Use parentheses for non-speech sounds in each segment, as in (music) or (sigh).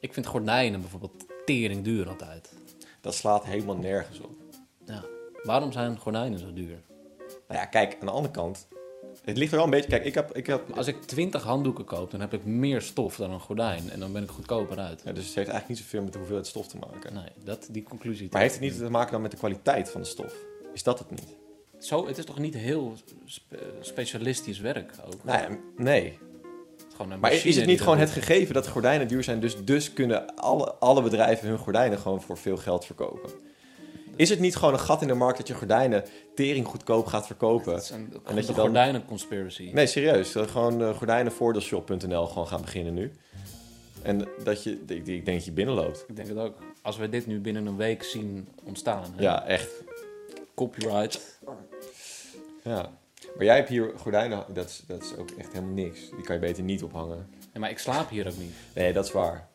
Ik vind gordijnen bijvoorbeeld tering duur altijd. Dat slaat helemaal nergens op. Ja. Waarom zijn gordijnen zo duur? Nou ja, kijk, aan de andere kant. Het ligt er wel een beetje. Kijk, ik heb. Ik heb Maar Als ik 20 handdoeken koop, dan heb ik meer stof dan een gordijn. En dan ben ik goedkoper uit. ja, dus het heeft eigenlijk niet zoveel met de hoeveelheid stof te maken. Nee, dat, die conclusie. Maar heeft het niet te maken dan met de kwaliteit van de stof? Is dat het niet? Zo, het is toch niet heel spe- specialistisch werk ook? Nou ja, nee. Het is gewoon een Maar machine is- is het die niet gewoon dat het gegeven dat gordijnen duur zijn, dus, dus kunnen alle, alle bedrijven hun gordijnen gewoon voor veel geld verkopen? Is het niet gewoon een gat in de markt dat je gordijnen tering goedkoop gaat verkopen? Het is een je de dan- gordijnen-conspiracy. Nee, serieus. Dat gewoon eh, gordijnenvoordeelshop.nl gewoon gaan beginnen nu. En dat je, ik, ik denk dat je binnenloopt. Ik denk het ook. Als we dit nu binnen een week zien ontstaan. hè, Ja, echt. Copyright. Ja. Maar jij hebt hier gordijnen, dat is, dat is ook echt helemaal niks. Die kan je beter niet ophangen. Nee, maar ik slaap hier ook niet. Nee, dat is waar.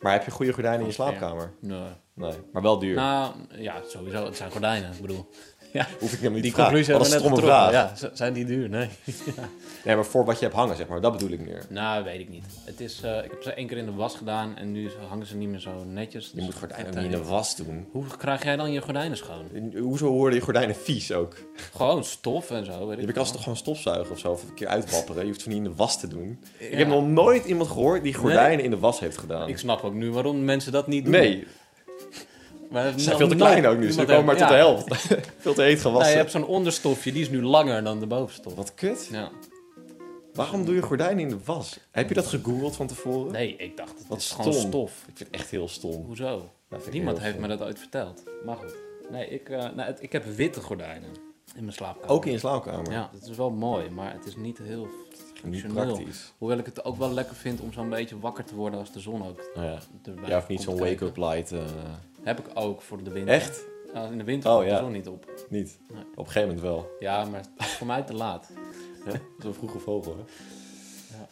Maar heb je goede gordijnen in je Gewoon fair. slaapkamer? Nee. Nee, maar wel duur. Nou, ja, sowieso. Het zijn gordijnen, ik bedoel. (laughs) Ja. Hoef ik helemaal niet Die te vragen. conclusie Wat hebben een we net stomme getrokken. vraag. Ja, z- zijn die duur? Nee. (laughs) Nee, maar voor wat je hebt hangen, zeg maar. Dat bedoel ik meer. Nou, weet ik niet. Het is, eh, ik heb ze één keer in de was gedaan en nu hangen ze niet meer zo netjes. Je Dus moet ik gordijnen heb niet in daar- de was doen. Hoe krijg jij dan je gordijnen schoon? En eh, Hoezo worden je gordijnen vies ook? Gewoon stof en zo. Weet ik Je kan veel. ze toch gewoon stofzuigen of zo, of een keer uitwapperen. Je hoeft ze niet in de was te doen. Ik Ja. heb nog nooit iemand gehoord die gordijnen Nee. in de was heeft gedaan. Ik snap ook nu waarom mensen dat niet doen. nee, maar ze zijn veel te klein ook nu. Ze komen maar tot de helft. (laughs) veel te heet Nou, gewassen. je hebt zo'n onderstofje, die is nu langer dan de bovenstof. Wat kut. Ja. Waarom doe je gordijnen in de was? Heb je dat gegoogeld van tevoren? Nee, ik dacht, het Wat is stom. gewoon stof. Ik vind het echt heel stom. Hoezo? Dat vind ik Niemand heel heeft stom. me dat ooit verteld. Maar goed. Nee, ik, eh, nou, het- ik heb witte gordijnen in mijn slaapkamer. Ook in je slaapkamer. Ja, dat is wel mooi, maar het is niet heel Niet functioneel. praktisch. Hoewel ik het ook wel lekker vind om zo'n beetje wakker te worden als de zon ook Nou ja. erbij ja, of niet komt zo'n kijken. wake-up light. eh, Heb ik ook voor de winter. Echt? Ja, in de winter Oh, komt de ja. zon niet op. Niet. Nee. Op een gegeven moment wel. Ja, maar het is voor mij te laat. Zo'n vroege vogel, hè? Ja.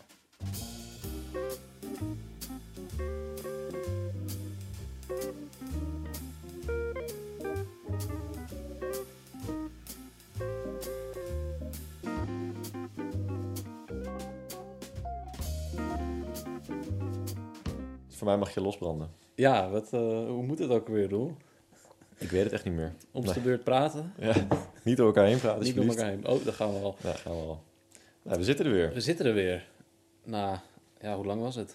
Dus Voor mij mag je losbranden. Ja, wat, eh, hoe moet het ook weer, Roel? Ik weet het echt niet meer. Om Nee. de beurt praten? Ja, (laughs) niet door elkaar heen praten, niet door alsjeblieft. elkaar heen. Oh, daar gaan we al. Ja, gaan we al. Nou, we zitten er weer. We zitten er weer. Na, ja, hoe lang was het?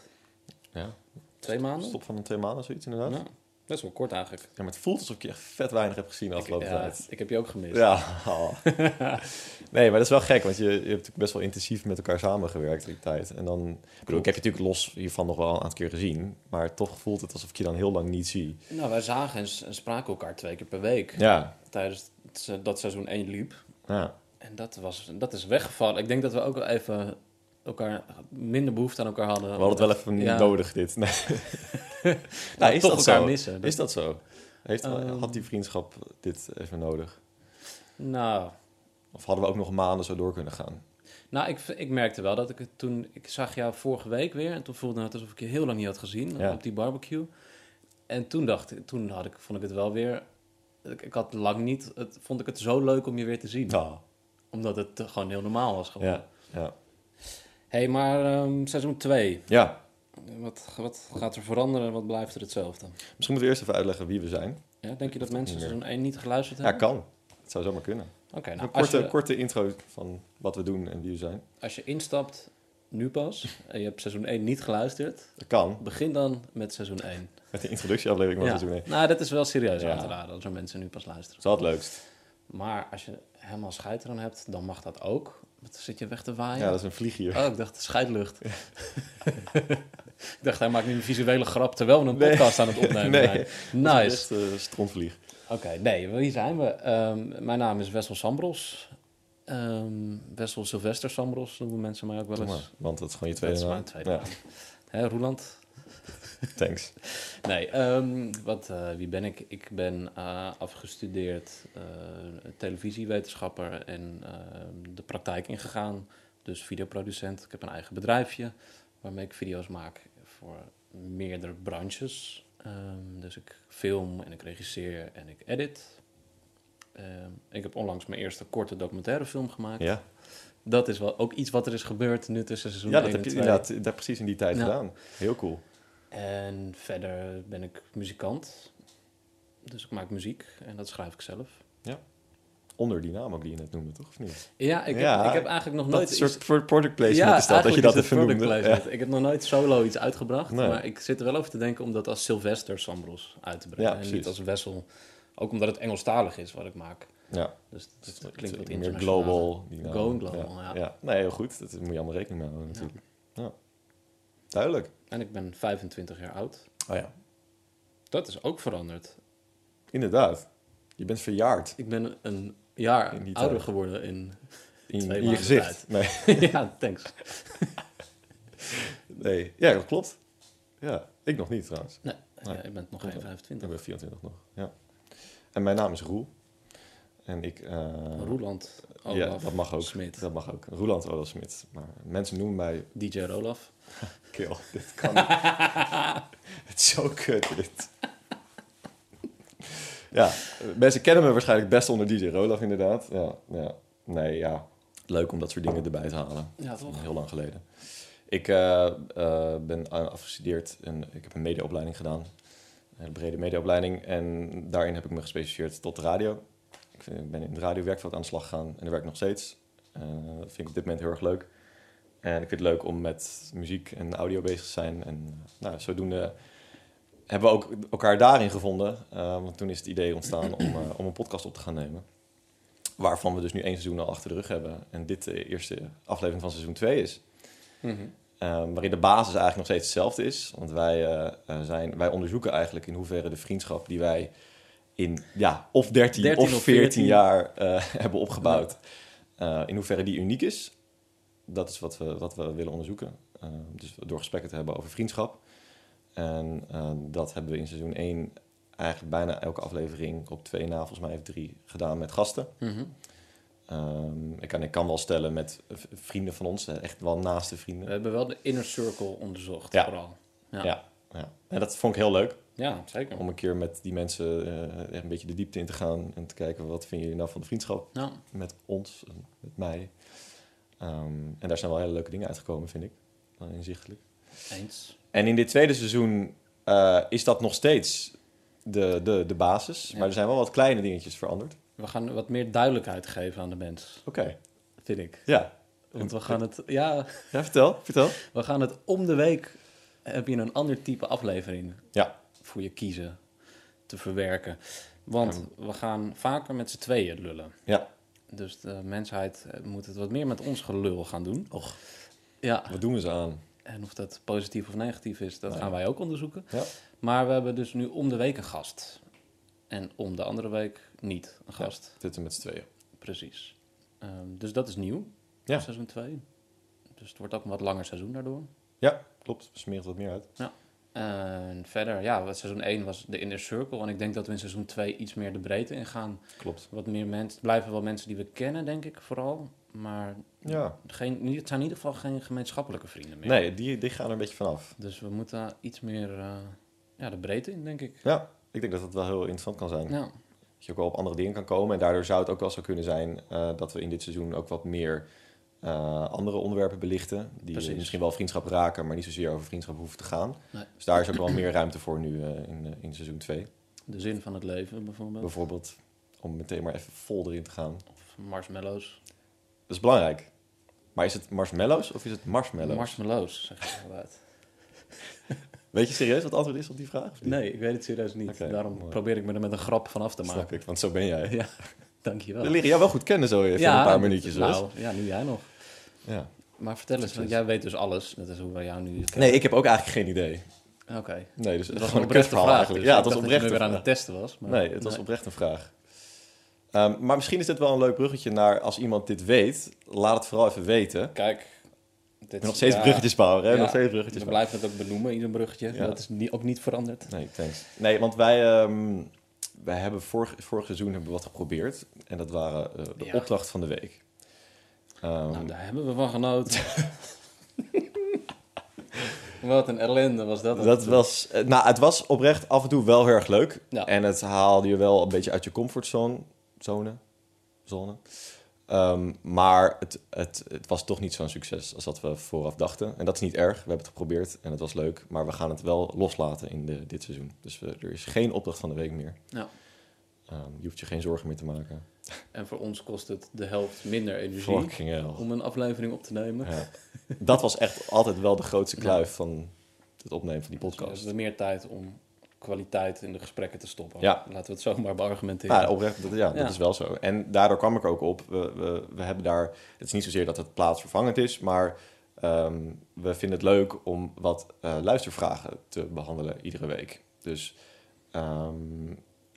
Ja. Twee maanden? Stop van twee maanden, zoiets inderdaad. Nou, best wel kort eigenlijk. Ja, maar het voelt alsof ik je echt vet weinig heb gezien de afgelopen ja, tijd. ik heb je ook gemist. Ja. (laughs) nee, maar dat is wel gek, want je, je hebt natuurlijk best wel intensief met elkaar samengewerkt die tijd. En dan, ik bedoel, ik heb je natuurlijk los hiervan nog wel een aantal keer gezien, maar toch voelt het alsof ik je dan heel lang niet zie. (laughs) Nou, wij zagen en, s- en spraken elkaar twee keer per week. Ja, Tijdens het se- dat seizoen 1 liep. ja. En dat, was, dat is weggevallen. Ik denk dat we ook wel even elkaar minder behoefte aan elkaar hadden. we hadden het wel even Oh, Ja. nodig dit. (laughs) (laughs) Nee. Nou, is toch dat elkaar zo? missen. Dat- Is dat zo? Heeft, Ehm. had die vriendschap dit even nodig? Nou, Of hadden we ook nog maanden zo door kunnen gaan? nou ik, v- ik merkte wel dat ik het toen... Ik zag jou vorige week weer. En toen voelde het alsof ik je heel lang niet had gezien. Ja. Op die barbecue. En toen dacht ik... Toen had ik, vond ik het wel weer... Ik, ik had lang niet... Het, vond ik het zo leuk om je weer te zien. Ja. Omdat het eh, gewoon heel normaal was. Gewoon. Ja. Ja. Hé, hey, maar ehm, seizoen 2. ja. Wat, wat gaat er veranderen en wat blijft er hetzelfde? Misschien moeten we eerst even uitleggen wie we zijn. Ja, denk je dat mensen niet meer. seizoen 1 niet geluisterd Ja, hebben? kan. Het zou zomaar kunnen. Oké, nou, een als, korte, je, korte intro van wat we doen en wie we zijn. als je instapt, nu pas, en je hebt seizoen 1 niet geluisterd, Dat kan. begin dan met seizoen 1. Met de introductieaflevering van Ja. seizoen 1. Nou, dat is wel serieus Ja. aan te raden, als er mensen nu pas luisteren. Dat is wel het leukst. Maar als je helemaal scheid eraan hebt, dan mag dat ook. Wat zit je weg te waaien? Ja, dat is een vlieg hier. Oh, ik dacht scheidlucht. (laughs) ik dacht, hij maakt nu een visuele grap terwijl we een Nee. podcast aan het opnemen Nee. zijn. Nice. Echt eh, strontvlieg. Oké, nee, wie zijn we? Ehm, mijn naam is Wessel Sambros. Ehm, Wessel Sylvester Sambros noemen mensen mij ook wel eens. Want dat is gewoon je Dat tweede is naam. mijn tweede naam. Hè, Roeland? Ja, (laughs) thanks. Nee, ehm, wat, eh, wie ben ik? Ik ben eh, afgestudeerd eh, televisiewetenschapper en ehm, de praktijk ingegaan. Dus videoproducent. Ik heb een eigen bedrijfje waarmee ik video's maak voor meerdere branches. Ehm, dus ik film en ik regisseer en ik edit. Ehm, ik heb onlangs mijn eerste korte documentairefilm gemaakt. Ja, Dat is wel ook iets wat er is gebeurd nu tussen seizoen ja 1 dat heb je en 2. inderdaad daar precies in die tijd Ja. gedaan. Heel cool. En verder ben ik muzikant. Dus ik maak muziek en dat schrijf ik zelf. Onder die naam ook die je net noemde, toch? Of niet? Ja, ik, Ja, heb, ik heb eigenlijk nog Dat nooit is een iets- soort pro- product placement is dat, dat je eigenlijk dat is het even product noemde. Ja. placement. Ik heb nog nooit solo iets uitgebracht, Nee. maar ik zit er wel over te denken om dat als Sylvester Sambros uit te brengen. Ja, en niet precies. als Wessel. Ook omdat het Engelstalig is wat ik maak. Ja. Dus het, Het klinkt wat meer internationaal. global. die naam. Gewoon global, ja. Nee, heel goed. Dat moet je allemaal rekening mee houden natuurlijk. Ja. Duidelijk. En ik ben 25 jaar oud. Oh ja. Dat is ook veranderd. Inderdaad. Je bent verjaard Ik ben een In jaar die ouder tijd. geworden in... (laughs) in, Twee in je maanden gezicht. Nee. ja, thanks. nee. Ja, dat klopt. Ja. Ik nog niet trouwens. Nee, Nee. ja, ik ben nog geen 25. Ik ben 24 nog. Ja. En mijn naam is Roel. En ik... eh, Roeland, Ja, Olaf, dat mag ook. Smit, Dat mag ook. Roeland Olaf Smit. Maar mensen noemen mij DJ Rolaf. (laughs) Kill. Dit kan niet. (laughs) Het is zo kut, dit. ja, mensen kennen me waarschijnlijk best onder DJ Rolaf, inderdaad. Ja, ja. Nee, ja. Leuk om dat soort dingen erbij te halen. Ja, toch? Heel lang geleden. Ik eh, eh, ben a- afgestudeerd en ik heb een mediaopleiding gedaan. Een brede mediaopleiding. En daarin heb ik me gespecialiseerd tot radio. Ik vind- ik ben in het radiowerkveld aan de slag gegaan en daar werk ik nog steeds. Eh, dat vind ik op dit moment heel erg leuk. En ik vind het leuk om met muziek en audio bezig te zijn. En eh, nou, zodoende hebben we ook elkaar daarin gevonden. Eh, want toen is het idee ontstaan om, eh, om een podcast op te gaan nemen. Waarvan we dus nu één seizoen al achter de rug hebben. En dit de eerste aflevering van seizoen 2 is. Mhm. Eh, waarin de basis eigenlijk nog steeds hetzelfde is. Want wij, eh, eh, zijn, wij onderzoeken eigenlijk in hoeverre de vriendschap die wij in ja, of 13, 13 of 14, of 14 jaar eh, (laughs) hebben opgebouwd, eh, in hoeverre die uniek is. Dat is wat we, wat we willen onderzoeken. Eh, dus door gesprekken te hebben over vriendschap. En eh, dat hebben we in seizoen 1 eigenlijk bijna elke aflevering op twee na, volgens mij, of drie gedaan met gasten. Mhm. Ehm, ik, kan, ik kan wel stellen met eh, v- vrienden van ons, eh, echt wel naaste We vrienden. hebben wel de inner circle onderzocht, Ja. vooral. Ja. Ja. ja. En dat vond ik heel leuk. Ja, zeker. Om een keer met die mensen eh, echt een beetje de diepte in te gaan. En te kijken, wat vinden jullie nou van de vriendschap Ja. met ons, en met mij? Ehm, en daar zijn wel hele leuke dingen uitgekomen, vind ik. Wel Inzichtelijk. Eens. En in dit tweede seizoen eh, is dat nog steeds de, de, de basis. Ja. Maar er zijn wel wat kleine dingetjes veranderd. We gaan wat meer duidelijkheid geven aan de mens, Oké, vind ik. ja. Want we gaan het, ja, Ja, vertel, vertel. we gaan het om de week. Heb je een ander type aflevering Ja. voor je kiezen te verwerken? Want we gaan vaker met z'n tweeën lullen. Ja. Dus de mensheid eh, moet het wat meer met ons gelul gaan doen. Och. Ja. Wat doen we ze aan? En of dat positief of negatief is, dat Ja. gaan wij ook onderzoeken. Ja. Maar we hebben dus nu om de week een gast. En om de andere week niet een gast. Zitten met z'n tweeën. Precies. Ehm, dus dat is nieuw, Ja. seizoen 2. Dus het wordt ook een wat langer seizoen daardoor. Ja, klopt. We smeren het wat meer uit. En verder, ja, wat seizoen 1 was de Inner Circle. En ik denk dat we in seizoen 2 iets meer de breedte ingaan. Klopt. Wat meer mensen, het blijven wel mensen die we kennen, denk ik vooral. Maar Ja. geen, het zijn in ieder geval geen gemeenschappelijke vrienden meer. Nee, die, die gaan er een beetje vanaf. Dus we moeten iets meer eh, ja, de breedte in, denk ik. Ja, ik denk dat dat wel heel interessant kan zijn. Ja, Dat je ook wel op andere dingen kan komen. En daardoor zou het ook wel zo kunnen zijn eh, dat we in dit seizoen ook wat meer eh, andere onderwerpen belichten. Die Precies. misschien wel vriendschap raken, maar niet zozeer over vriendschap hoeven te gaan. Nee. Dus daar is ook wel meer ruimte voor nu eh, in, eh, in seizoen 2. de zin van het leven bijvoorbeeld. Bijvoorbeeld om meteen maar even vol erin te gaan. Of marshmallows. Dat is belangrijk. Maar is het marshmallows of is het marshmallows? Marshmallows, zeg je inderdaad. Weet je serieus wat het antwoord is op die vraag? of niet? (laughs) Nee, ik weet het serieus niet. Oké, Daarom mooi. probeer ik me er met een grap van af te maken. Snap ik, want zo ben jij. Ja, We dankjewel. leren jou wel goed kennen zo even in een paar dat- minuutjes. hoor. Nou, ja, nu jij nog. Ja. Maar vertel eens, want jij weet dus alles. Dat is hoe wij jou nu kennen. Nee, ik heb ook eigenlijk geen idee. Oké. Nee, Dat was dus het was een gewoon een oprechte kutverhaal vraag. eigenlijk. Dus ja, ik het was dacht dat je oprecht. nu weer aan het testen was. Maar Nee, het was oprecht een vraag. Ehm, maar misschien is dit wel een leuk bruggetje naar als iemand dit weet, laat het vooral even weten. Ik Kijk. Dit ben nog steeds ja, bruggetjes bouwen, hè? ja, nog steeds bruggetjes We bouwen. blijven het ook benoemen, ieder bruggetje. Ja. Dat is nie- ook niet veranderd. Nee, thanks. Nee, want wij, ehm, wij hebben vorig, vorig seizoen hebben we wat geprobeerd. En dat waren eh, de Ja. opdracht van de week. Ehm, Nou, daar hebben we van genoten. (laughs) Wat een ellende was dat. dat was, eh, nou, het was oprecht af en toe wel heel erg leuk. Ja. En het haalde je wel een beetje uit je comfortzone. Zone. Zone. Eh, Ehm, maar het, het, het was toch niet zo'n succes als dat we vooraf dachten. En dat is niet erg. We hebben het geprobeerd en het was leuk. Maar we gaan het wel loslaten in de, dit seizoen. Dus we- er is geen opdracht van de week meer. Ja. Ehm, je hoeft je geen zorgen meer te maken. Nou, En voor ons kost het de helft minder energie Fucking hell. om een aflevering op te nemen. Ja. Dat was echt altijd wel de grootste kluif van het opnemen van die Dus we podcast. hebben meer tijd om kwaliteit in de gesprekken te stoppen. Ja. Nou, Laten we het zomaar beargumenteren. Ja, Ah, oprecht, dat, ja, Ja. dat is wel zo. En daardoor kwam ik er ook op. We, we, we hebben daar, het is niet zozeer dat het plaatsvervangend is, maar ehm, we vinden het leuk om wat eh, luistervragen te behandelen iedere week. Dus ehm,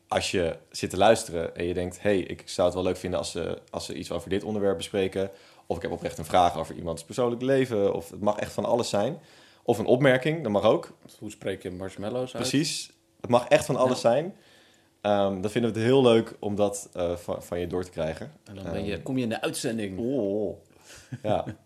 als je zit te luisteren en je denkt, hey, ik zou het wel leuk vinden als ze, als ze iets over dit onderwerp bespreken. Of ik heb oprecht een vraag over iemands persoonlijk leven. Of het mag echt van alles zijn. Of een opmerking, dat mag ook. Hoe spreek je marshmallows uit? Precies. Het mag echt van alles Ja. zijn. Ehm, dan vinden we het heel leuk om dat eh, van, van je door te krijgen. Ehm, En dan ben je, kom je in de uitzending. Oh. Ja. (laughs)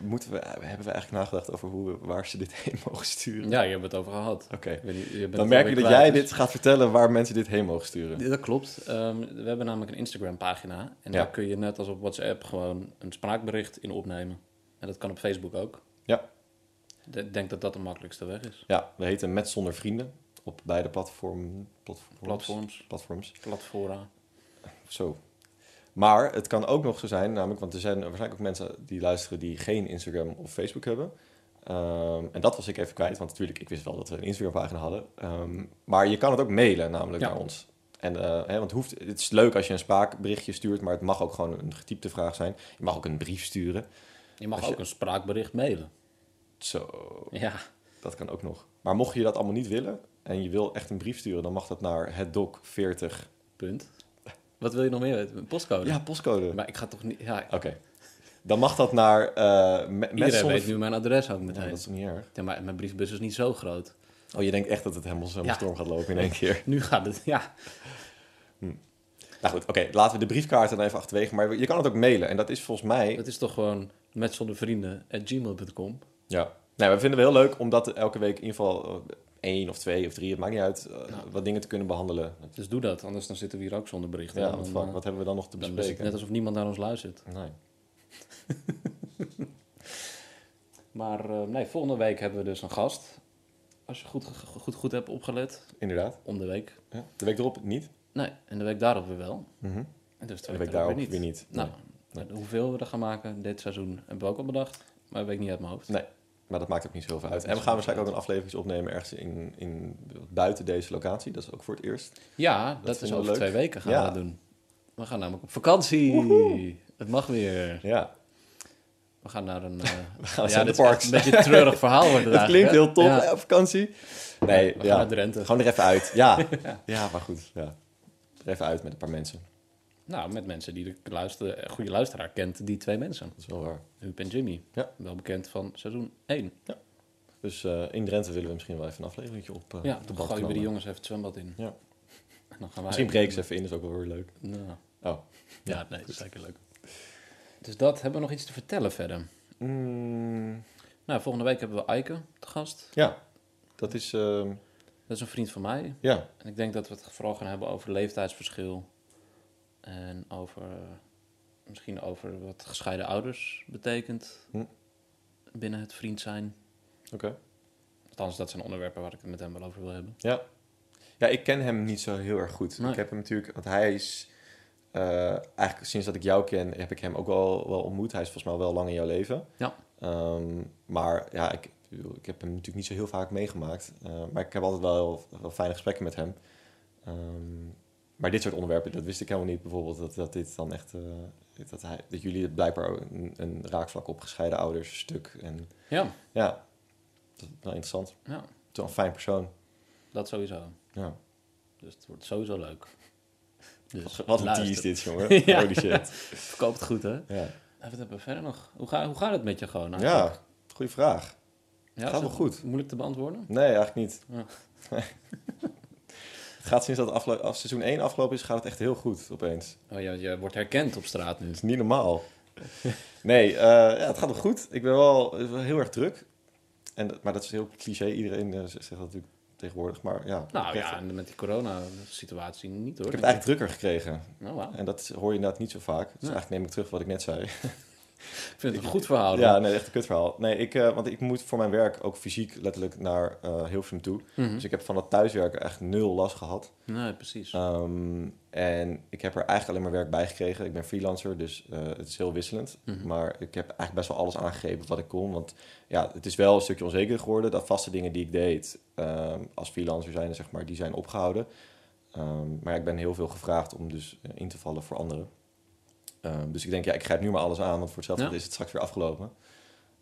Moeten we, hebben we eigenlijk nagedacht over hoe we, waar ze dit (laughs) heen mogen sturen? Ja, je hebt het over gehad. Oké. Ik weet niet, je bent Dan het merk alweer ik dat kwijt, jij dus- dit gaat vertellen waar mensen dit heen mogen sturen. Ja, Dat klopt. Ehm, we hebben namelijk een Instagram-pagina. En Ja. daar kun je net als op WhatsApp gewoon een spraakbericht in opnemen. En dat kan op Facebook ook. Ja. Ik denk dat dat de makkelijkste weg is. Ja, we heten Met Zonder Vrienden op beide platform, platforms. Platforms, platforms. platfora. Zo. Maar het kan ook nog zo zijn, namelijk, want er zijn waarschijnlijk ook mensen die luisteren die geen Instagram of Facebook hebben. Ehm, en dat was ik even kwijt, want natuurlijk, ik wist wel dat we een Instagram-pagina hadden. Ehm, maar je kan het ook mailen, namelijk Ja. naar ons. En, eh, hè, want het, hoeft, het is leuk als je een spraakberichtje stuurt, maar het mag ook gewoon een getypte vraag zijn. Je mag ook een brief sturen. Je mag Als je- ook een spraakbericht mailen. Zo, Ja, dat kan ook nog. Maar mocht je dat allemaal niet willen en je wil echt een brief sturen, dan mag dat naar hetdoc40. punt. Wat wil je nog meer weten? Een postcode? Ja, Oh, postcode. Maar ik ga toch niet... Ja, Oké. Dan mag dat naar eh me- mensen iedereen zonder weet nu mijn adres ook Ja, meteen. dat is toch niet erg. Ja, maar mijn briefbus is niet zo groot. Oh, je denkt echt dat het helemaal zo'n Ja. storm gaat lopen in één keer. Nu gaat het, ja. Nou goed, oké, laten we de briefkaarten dan even achterwege. Maar je kan het ook mailen en dat is volgens mij... Het is toch gewoon met zonder vrienden at gmail.com. Ja. Nou, we vinden het heel leuk om dat elke week in ieder geval eh, één of twee of drie, het maakt niet uit, eh, Ja. wat dingen te kunnen behandelen. Dus doe dat, anders dan zitten we hier ook zonder berichten. Ja, En want dan, fuck, eh, wat hebben we dan nog te dan is het bespreken? net alsof niemand naar ons luistert. Nee. Maar eh, nee, volgende week hebben we dus een gast. Als je goed, goed, goed, goed hebt opgelet, Inderdaad. om de week. Ja. De week erop niet. Nee, en de week daarop weer wel. Mhm. En dus de En week, de week daarop daarop weer niet. Nou, Nee. eh, hoeveel we er gaan maken dit seizoen hebben we ook al bedacht. Maar dat weet ik niet uit mijn hoofd. Nee. Maar dat maakt ook niet zo heel veel uit. Dat En we is gaan niet waarschijnlijk ook een aflevering opnemen ergens in, in, buiten deze locatie. Dat is ook voor het eerst. Ja, dat, is vinden we over leuk. twee weken gaan Ja. we dat doen. We gaan namelijk op vakantie. Het mag weer. Ja. We gaan naar (laughs) een... eh, gaan naar dit de is parks. echt Een beetje een treurig verhaal wordt het (laughs) Het klinkt eigenlijk, hè? heel tof, Ja. hè, op vakantie. Nee, We gaan ja. naar Drenthe. Gewoon er even uit. Ja, (laughs) ja. maar goed. Ja. Er even uit met een paar mensen. Nou, met mensen die de luister, een goede luisteraar kent, die twee mensen. Dat is wel waar. Huub en Jimmy. Ja. Eh, Wel bekend van seizoen 1. Dus eh, in Drenthe willen we misschien wel even een aflevering op, eh, Ja, op de dan gooien band we die knallen. jongens even het zwembad in. Ja. En dan gaan wij... Misschien breken ze even in, is ook wel weer leuk. Nou, Oh. (laughs) ja, nee, dat is zeker leuk. Dus dat, hebben we nog iets te vertellen verder? Mm, Nou, volgende week hebben we Eike te gast. ja, dat is... ehm, Dat is een vriend van mij. ja, En ik denk dat we het vooral gaan hebben over leeftijdsverschil. En over... eh, Misschien over wat gescheiden ouders betekent Hm. binnen het vriend zijn. oké. Althans, dat zijn onderwerpen waar ik het met hem wel over wil hebben. Ja. ja, ik ken hem niet zo heel erg goed. Nee. Ik heb hem natuurlijk, want hij is eh, eigenlijk sinds dat ik jou ken, heb ik hem ook wel, wel ontmoet. Hij is volgens mij wel lang in jouw leven. Ja. Ehm, maar ja, ik, ik bedoel, ik heb hem natuurlijk niet zo heel vaak meegemaakt. Eh, maar ik heb altijd wel, heel- wel fijne gesprekken met hem. Ehm, maar dit soort onderwerpen, dat wist ik helemaal niet. Bijvoorbeeld dat, dat dit dan echt, eh, dat, hij, dat jullie het blijkbaar ook een, een raakvlak op gescheiden ouders stuk. En Ja, ja, dat is wel interessant. ja Het is wel een fijn persoon. dat sowieso. Ja. Dus het wordt sowieso leuk. Dus Wat een luister. tease dit, jongen. (laughs) Ja. Holy shit. Verkoopt goed, hè? Ja. En wat hebben we verder nog? Hoe, ga, hoe gaat het met je gewoon eigenlijk? ja, goede vraag. Ja, gaat is wel het goed. Moeilijk te beantwoorden? Nee, eigenlijk niet. Ja. het (laughs) gaat sinds dat aflo- af seizoen 1 afgelopen is, gaat het echt heel goed opeens. Oh, je, je wordt herkend op straat nu. Het is niet (laughs) normaal. Nee, eh, ja, het gaat wel goed. Ik ben wel, eh, wel heel erg druk. En, dat- maar dat is heel cliché. Iedereen eh, zegt dat natuurlijk tegenwoordig. Maar ja, ik Nou heb- ja, en met die corona-situatie niet hoor. ik heb het eigenlijk drukker gekregen. Nou, wauw. En dat hoor je inderdaad niet zo vaak. Dus Ja. eigenlijk neem ik terug wat ik net zei. Ik vind het een goed verhaal. hoor. Ja, nee, echt een kutverhaal. Nee, ik, eh, want ik moet voor mijn werk ook fysiek letterlijk naar eh Hilversum toe. Mhm. Dus ik heb van dat thuiswerken echt nul last gehad. Nee, precies. Ehm, en ik heb er eigenlijk alleen maar werk bij gekregen. Ik ben freelancer, dus eh, het is heel wisselend. Mhm. Maar ik heb eigenlijk best wel alles aangegrepen wat ik kon. Want ja, het is wel een stukje onzeker geworden. Dat vaste dingen die ik deed ehm, als freelancer zijn, zeg maar, die zijn opgehouden. Ehm, maar ik ben heel veel gevraagd om dus eh, in te vallen voor anderen. Ehm, dus ik denk, ja, ik grijp nu maar alles aan, want voor hetzelfde Ja. geld is het straks weer afgelopen.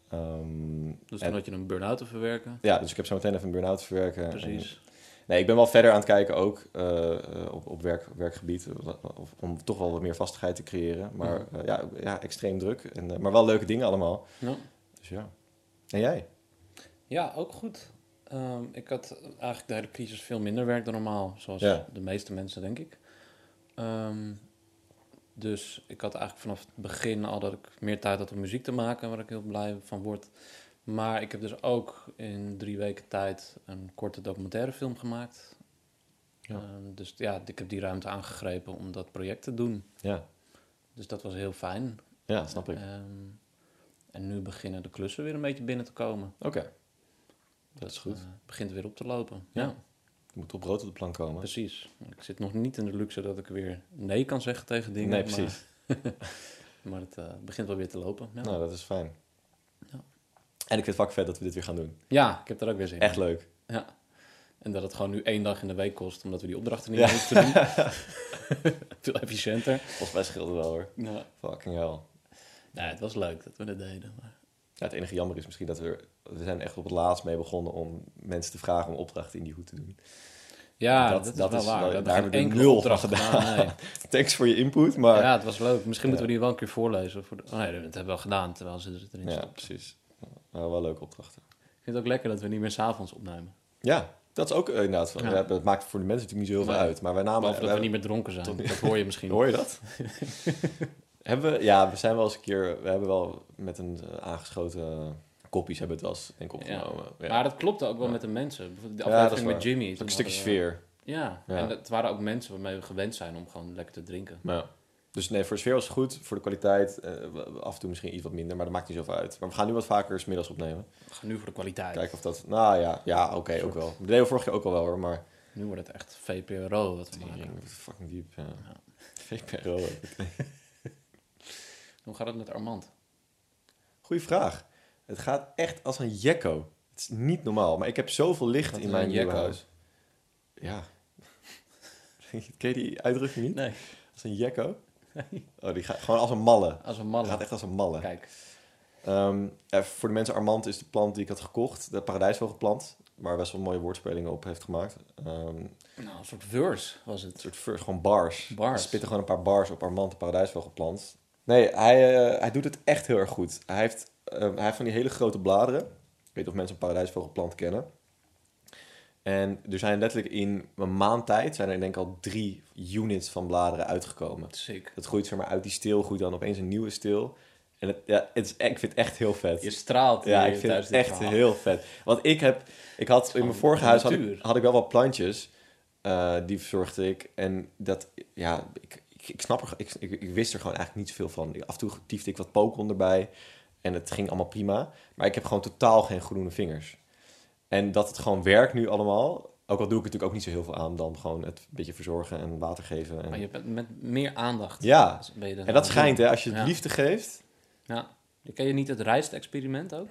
Ehm, dus en- dan had je een burn-out te verwerken. ja, dus ik heb zo meteen even een burn-out te verwerken. En- Precies. Nee, ik ben wel verder aan het kijken ook eh, eh, op, op werk, werkgebied. eh, of- om toch wel wat meer vastigheid te creëren. Maar Mhm. eh, ja, ja, extreem druk. En, eh, maar wel leuke dingen allemaal. Ja. Dus ja. En jij? Ja, ook goed. Ehm, ik had eigenlijk de hele crisis veel minder werk dan normaal, zoals Ja. de meeste mensen, denk ik. Ehm, dus ik had eigenlijk vanaf het begin al dat ik meer tijd had om muziek te maken, waar ik heel blij van word. Maar ik heb dus ook in drie weken tijd een korte documentaire film gemaakt. Ja. Ehm, dus ja, ik heb die ruimte aangegrepen om dat project te doen. Ja, Dus dat was heel fijn. ja snap ik. Ehm, en nu beginnen de klussen weer een beetje binnen te komen. Oké, dat is goed. eh, begint weer op te lopen. Ja. ja. Er moet op brood op de plank komen. Precies. Ik zit nog niet in de luxe dat ik weer nee kan zeggen tegen dingen. nee, (laughs) precies. Maar, maar het eh, begint wel weer te lopen. Ja. Nou, dat is fijn. Ja. En ik vind het fucking vet dat we dit weer gaan doen. ja, ik heb daar ook weer zin Echt in. leuk. Ja. En dat het gewoon nu één dag in de week kost, omdat we die opdrachten niet Ja. meer hoeven te doen. Veel efficiënter. (laughs) Volgens mij scheelde wel hoor. Ja. Fucking hell. Nee, het was leuk dat we dat deden. Maar... Ja, het enige jammer is misschien dat we... er- We zijn echt op het laatst mee begonnen om mensen te vragen om opdrachten in die hoed te doen. (laughs) Ja, Dat- dat, dat is is wel waar. wel- we hebben daar geen hebben we enkele nul van opdracht gedaan. gedaan, nee. Thanks voor je input, (laughs) maar... Ja, het was leuk. Misschien Ja. moeten we die wel een keer voorlezen. Voor de... oh, nee, dat hebben we wel gedaan, terwijl ze het erin Ja, stopt. precies. Maar wel leuke opdrachten. Ik vind het ook lekker dat we niet meer s'avonds opnemen. Ja, dat is ook eh, inderdaad. Van, Ja. ja, dat maakt voor de mensen natuurlijk niet zo heel veel Nee. uit. Maar wij namen... Behalve dat we wij- niet meer dronken zijn. Tot- Dat hoor je (laughs) misschien. Hoor je (laughs) dat? hebben we, ja, we zijn wel eens een keer... We hebben wel met een eh, aangeschoten kopjes hebben we het wel eens, denk ik, Ja. opgenomen. Ja. Maar dat klopte ook wel Ja. met de mensen. Bijvoorbeeld de Ja, dat is aflevering met waar. Jimmy. Ook toen een stukje hadden we- sfeer. Ja. Ja. en het waren ook mensen waarmee we gewend zijn om gewoon lekker te drinken. Ja. Dus nee, voor de sfeer was het goed. Voor de kwaliteit eh, af en toe misschien iets wat minder. Maar dat maakt niet zoveel uit. Maar we gaan nu wat vaker 's middags opnemen. We gaan nu voor de kwaliteit. Kijken of dat... Nou ja, ja oké, Soort- ook wel. We deden we vorige keer ook al wel hoor, maar... Nu wordt het echt VPRO wat we maken. Tering, fucking diep, ja. Ja. VPRO. hè. Hoe gaat het met Armand? Goeie vraag. Het gaat echt als een jekko. Het is niet normaal, maar ik heb zoveel licht Wat in is mijn een nieuwe jekko? huis. Ja. (laughs) Ken je die uitdrukking niet? Nee. Als een jekko? Oh, die gaat gewoon als een malle. Als een Het gaat malle. echt als een malle. Kijk. Ehm, eh, voor de mensen, Armand is de plant die ik had gekocht. De paradijsvogelplant. Waar best wel mooie woordspelingen op heeft gemaakt. Ehm, Nou, een soort verse was een het. soort ver- gewoon bars. Bars. Er spitten gewoon een paar bars op Armand de paradijsvogelplant. Nee, hij, eh, hij doet het echt heel erg goed. Hij heeft, eh, hij heeft van die hele grote bladeren. Ik weet niet of mensen een paradijsvogelplant kennen. En er zijn letterlijk in een maand tijd... zijn er denk ik al drie units van bladeren uitgekomen. Sick. Dat groeit zeg maar uit die steel, groeit dan opeens een nieuwe steel. En het, ja, het is, ik vind het echt heel vet. Je straalt Ja, hier ik vind tijdens het dit echt verhaal. heel vet. Want ik heb, ik had in gewoon mijn vorige huis had ik, natuur. had ik wel wat plantjes. eh, die verzorgde ik. En dat, ja, ik, ik, ik snap er, ik, ik, ik wist er gewoon eigenlijk niet zoveel van. Ik- Af en toe tiefde ik wat pokon erbij. En het ging allemaal prima. Maar ik heb gewoon totaal geen groene vingers. En dat het gewoon werkt nu allemaal. Ook al doe ik er natuurlijk ook niet zo heel veel aan dan gewoon het een beetje verzorgen en water geven. En, Maar je bent met meer aandacht. ja, ben je dan en aan dat het schijnt doen. hè. Als je het Ja. liefde geeft. Ja. Ken je niet het rijstexperiment ook?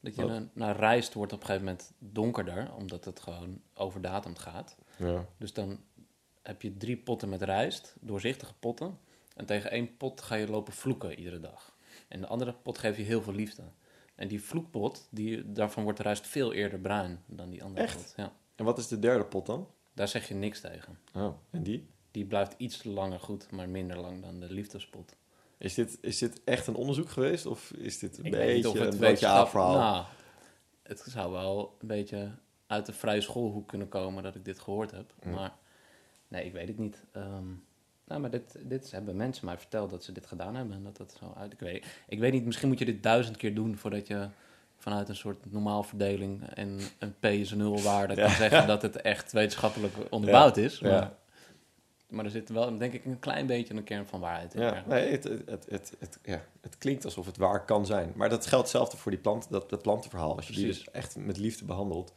Dat je Wat? naar, naar rijst wordt op een gegeven moment donkerder, omdat het gewoon overdatumd gaat. Ja. Dus dan heb je drie potten met rijst, doorzichtige potten. En tegen één pot ga je lopen vloeken iedere dag. En de andere pot geef je heel veel liefde. En die vloekpot, die, daarvan wordt de rijst veel eerder bruin dan die andere Echt? pot. Ja, En wat is de derde pot dan? daar zeg je niks tegen. Oh, en die? Die blijft iets langer goed, maar minder lang dan de liefdespot. Is dit, is dit echt een onderzoek geweest? Of is dit een Ik weet niet beetje of een het broodje wetenschap... aapverhaal? Nou, het zou wel een beetje uit de vrije schoolhoek kunnen komen dat ik dit gehoord heb. Mm. Maar nee, ik weet het niet. Ehm, nou, maar dit, dit hebben mensen mij verteld dat ze dit gedaan hebben. En dat dat zo uit... Ik weet, ik weet niet, misschien moet je dit duizend keer doen voordat je vanuit een soort normaalverdeling en een P is een (laughs) nulwaarde kan zeggen dat het echt wetenschappelijk onderbouwd is. Maar, Ja. maar er zit wel, denk ik, een klein beetje een kern van waarheid in. Ja, nee, het, het, het, het, het- ja, het klinkt alsof het waar kan zijn. Maar dat geldt hetzelfde voor die plant, dat, dat plantenverhaal. Als je die Precies. dus echt met liefde behandelt,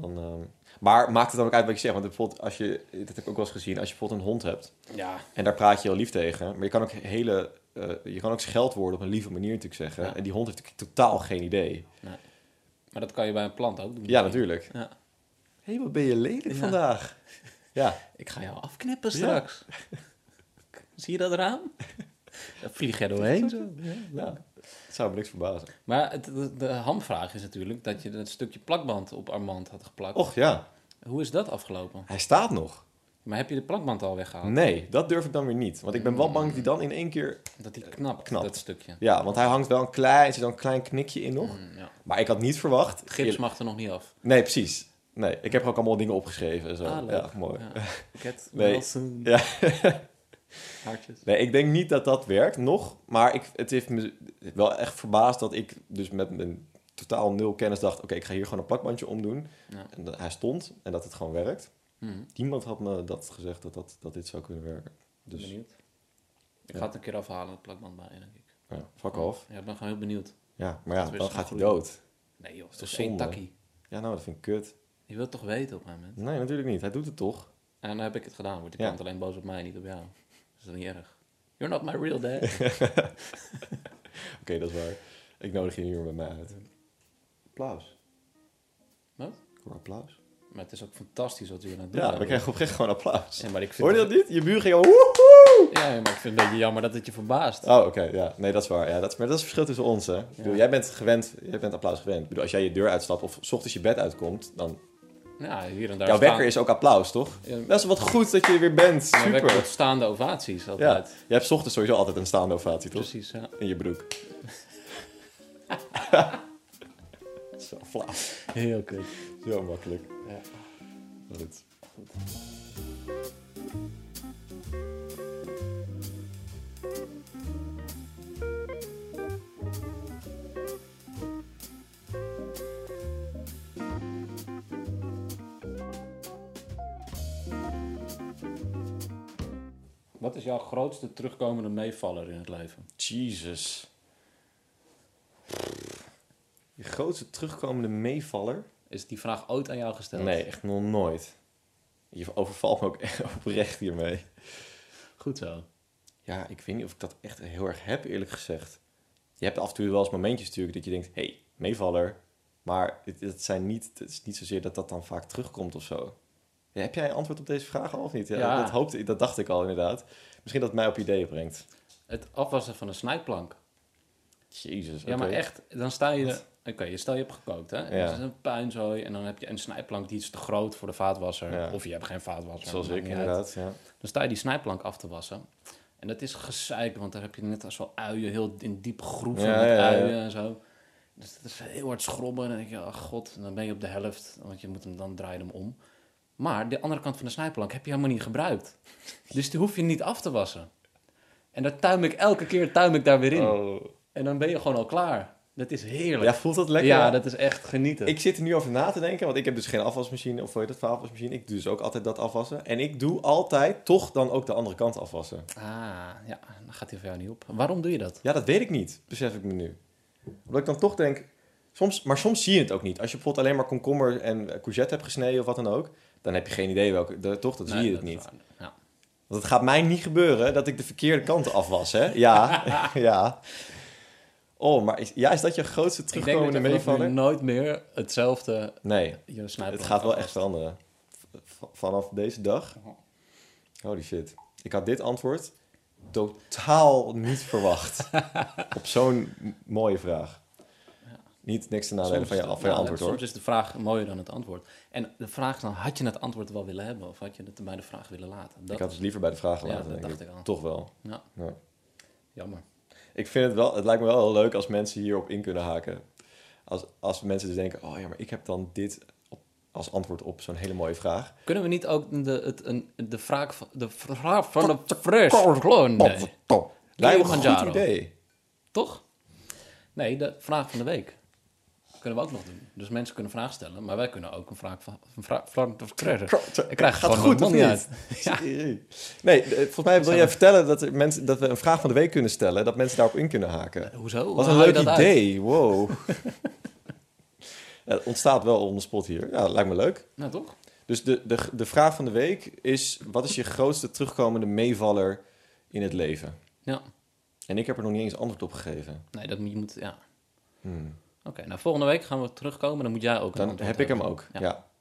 dan... ehm, maar maakt het dan ook uit wat je zegt? Want bijvoorbeeld als je, dat heb ik ook wel eens gezien, als je bijvoorbeeld een hond hebt ja. en daar praat je heel lief tegen, maar je kan ook hele, eh, je kan ook scheldwoorden op een lieve manier natuurlijk zeggen. Ja. En die hond heeft natuurlijk totaal geen idee. Maar dat kan je bij een plant ook doen. Ja, natuurlijk. Ja. Hé, wat ben je lelijk Ja. (laughs) vandaag. Ja, Ik ga jou afknippen straks. (laughs) Zie je dat (laughs) raam? Dan vlieg jij doorheen. Zo. nou, het zou me niks verbazen. Maar het, de, de hamvraag is natuurlijk dat je dat stukje plakband op Armand had geplakt. Och ja, Hoe is dat afgelopen? hij staat nog. Maar heb je de plakband al weggehaald? Nee, dat durf ik dan weer niet. Want ik ben wel bang dat hij dan in één keer Dat die knapt, Knapt. dat stukje. Ja, want hij hangt wel een klein, er zit wel een klein knikje in nog. Mm, ja. Maar ik had niet verwacht. Gips mag er nog niet af. Nee, precies. Nee, ik heb er ook allemaal dingen opgeschreven. en Zo. Ah, leuk. ja, mooi. Ja. Cat (laughs) Nee. Wilson. Ja. (laughs) Hartjes. Nee, ik denk niet dat dat werkt nog. Maar ik, het heeft me wel echt verbaasd dat ik dus met mijn totaal nul kennis dacht... oké, ik ga hier gewoon een plakbandje omdoen. Ja. En dat hij stond en dat het gewoon werkt. Hm, Niemand had me dat gezegd dat, dat, dat dit zou kunnen werken. Dus Benieuwd. Ik Ja. ga het een keer afhalen, het plakband bij, denk ik. ja, fuck off. Ja, ik ben gewoon heel benieuwd. Ja, maar ja, Dat is dan een gaat hij goeie. dood. Nee joh, het toch is één zonde? takkie. Ja, nou, dat vind ik kut. Je wilt toch weten op een moment? Nee, natuurlijk niet. Hij doet het (laughs) toch? En dan heb ik het gedaan. Wordt die Ja. klant alleen boos op mij, niet op jou. Dus dat is niet erg. You're not my real dad. Oké, dat is waar. Ik nodig je niet meer bij mij uit. Applaus. Wat? Ik hoor applaus. (laughs) Maar het is ook fantastisch wat u aan het doen Ja, bent. we krijgen oprecht gewoon applaus. Ja, maar ik vind Hoorde je dat niet? Je buur ging al woehoe! Ja, maar ik vind het een beetje jammer dat het je verbaast. Oh, oké, ja. Nee, dat is waar. Ja, dat is, maar dat is het verschil tussen ons, hè. Ik bedoel, jij bent gewend, jij bent applaus gewend. Ik bedoel, als jij je deur uitstapt of 's ochtends je bed uitkomt, dan... Ja, hier en daar jouw staan- wekker is ook applaus, toch? Ja, Dat is wat goed dat je er weer bent. mijn wekker Super. wordt staande ovaties Ja, altijd. je hebt 's ochtends sowieso altijd een staande ovatie, toch? Precies, ja. In je broek. (laughs) Zo flauw. Heel kut. Zo makkelijk. Ja. Goed. Wat is jouw grootste terugkomende meevaller in het leven? Jesus. Je grootste terugkomende meevaller? Is die vraag ooit aan jou gesteld? Nee, echt nog nooit. Je overvalt me ook echt (laughs) oprecht hiermee. Goed zo. Ja, ik weet niet of ik dat echt heel erg heb, eerlijk gezegd. Je hebt af en toe wel eens momentjes natuurlijk dat je denkt... hey, meevaller. Maar het, het, zijn niet, het is niet zozeer dat dat dan vaak terugkomt of zo. Ja, heb jij een antwoord op deze vraag al of niet? Ja, Ja. Dat, hoopte, ik- dat dacht ik al inderdaad. Misschien dat het mij op ideeën brengt. Het afwassen van een snijplank. Jezus, Ja, maar oké. echt, dan sta je... er- Oké, je stel je hebt gekookt, hè? En Ja. Het is een puinzooi en dan heb je een snijplank die is te groot voor de vaatwasser. Ja. Of je hebt geen vaatwasser. Zoals maakt ik niet uit. inderdaad, ja. Dan sta je die snijplank af te wassen. En dat is gezeik, want daar heb je net als wel uien, heel in diepe groeven Ja, met ja, ja. uien en zo. Dus dat is heel hard schrobben. En dan denk je, oh god, en dan ben je op de helft, want je moet hem dan draaien hem om. Maar de andere kant van de snijplank heb je helemaal niet gebruikt. Dus die hoef je niet af te wassen. En daar tuim ik elke keer tuim ik daar weer in. Oh. En dan ben je gewoon al klaar. Dat is heerlijk. Ja, voelt dat lekker? Ja, dat is echt genieten. Ik zit er nu over na te denken, want ik heb dus geen afwasmachine of hoe heet dat, voor afwasmachine. Ik doe dus ook altijd dat afwassen. En ik doe altijd toch dan ook de andere kant afwassen. Ah, ja, dan gaat hij voor jou niet op. Waarom doe je dat? Ja, dat weet ik niet, besef ik me nu. Omdat ik dan toch denk, soms, maar soms zie je het ook niet. Als je bijvoorbeeld alleen maar komkommer en eh, courgette hebt gesneden of wat dan ook, dan heb je geen idee welke, de- toch, dat zie Nee, je het dat is niet. waar. Ja. Want het gaat mij niet gebeuren dat ik de verkeerde kant afwas, hè? Ja, (laughs) ja. Oh, maar is, ja, is dat je grootste Ik denk dat terugkomende je vanaf nu meevaller? nooit meer hetzelfde Nee. je snijplank Het gaat wel echt afwast. veranderen. V- v- vanaf deze dag. Oh. Holy shit. Ik had dit antwoord totaal niet (laughs) verwacht. Op zo'n m- mooie vraag. Niet niks te nadelen Soms van je, is de- van je ja, antwoord Soms hoor. is de vraag mooier dan het antwoord. En de vraag is dan, had je het antwoord wel willen hebben? Of had je het bij de vraag willen laten? Dat Ik had het liever bij de vraag gelaten. Ja, dat denk dacht ik. ik al. Toch wel. Ja. Ja. Jammer. Ik vind het wel, het lijkt me wel heel leuk als mensen hierop in kunnen haken. Als, als mensen dus denken, oh ja, maar ik heb dan dit op- als antwoord op zo'n hele mooie vraag. Kunnen we niet ook de, het, een, de vraag van de, vraag van de fris kloon? Top, top. Lijkt me een goed Kilimanjaro. idee. Toch? Nee, de vraag van de week. kunnen we ook nog doen. Dus mensen kunnen vragen stellen, maar wij kunnen ook een vraag van een vraag van krijgen. Ik krijg Gaat gewoon goed, mijn of mond niet niet? uit. (laughs) Ja. Nee, eh, volgens mij wil jij vertellen dat, er mensen, dat we een vraag van de week kunnen stellen... dat mensen daarop in kunnen haken. Eh, Hoezo? Wat Haal een je leuk dat uit? idee. Wow. (laughs) Ja, Het ontstaat wel on the spot hier. Ja, lijkt me leuk. Nou toch? Dus de, de, de vraag van de week is... wat is je grootste terugkomende meevaller in het leven? Ja. En ik heb er nog niet eens antwoord op gegeven. Nee, dat niet moet. Ja. Hmm. Oké, nou volgende week gaan we terugkomen. Dan moet jij ook. een Dan antwoord heb ik hem hebben. ook. Ja. Ja.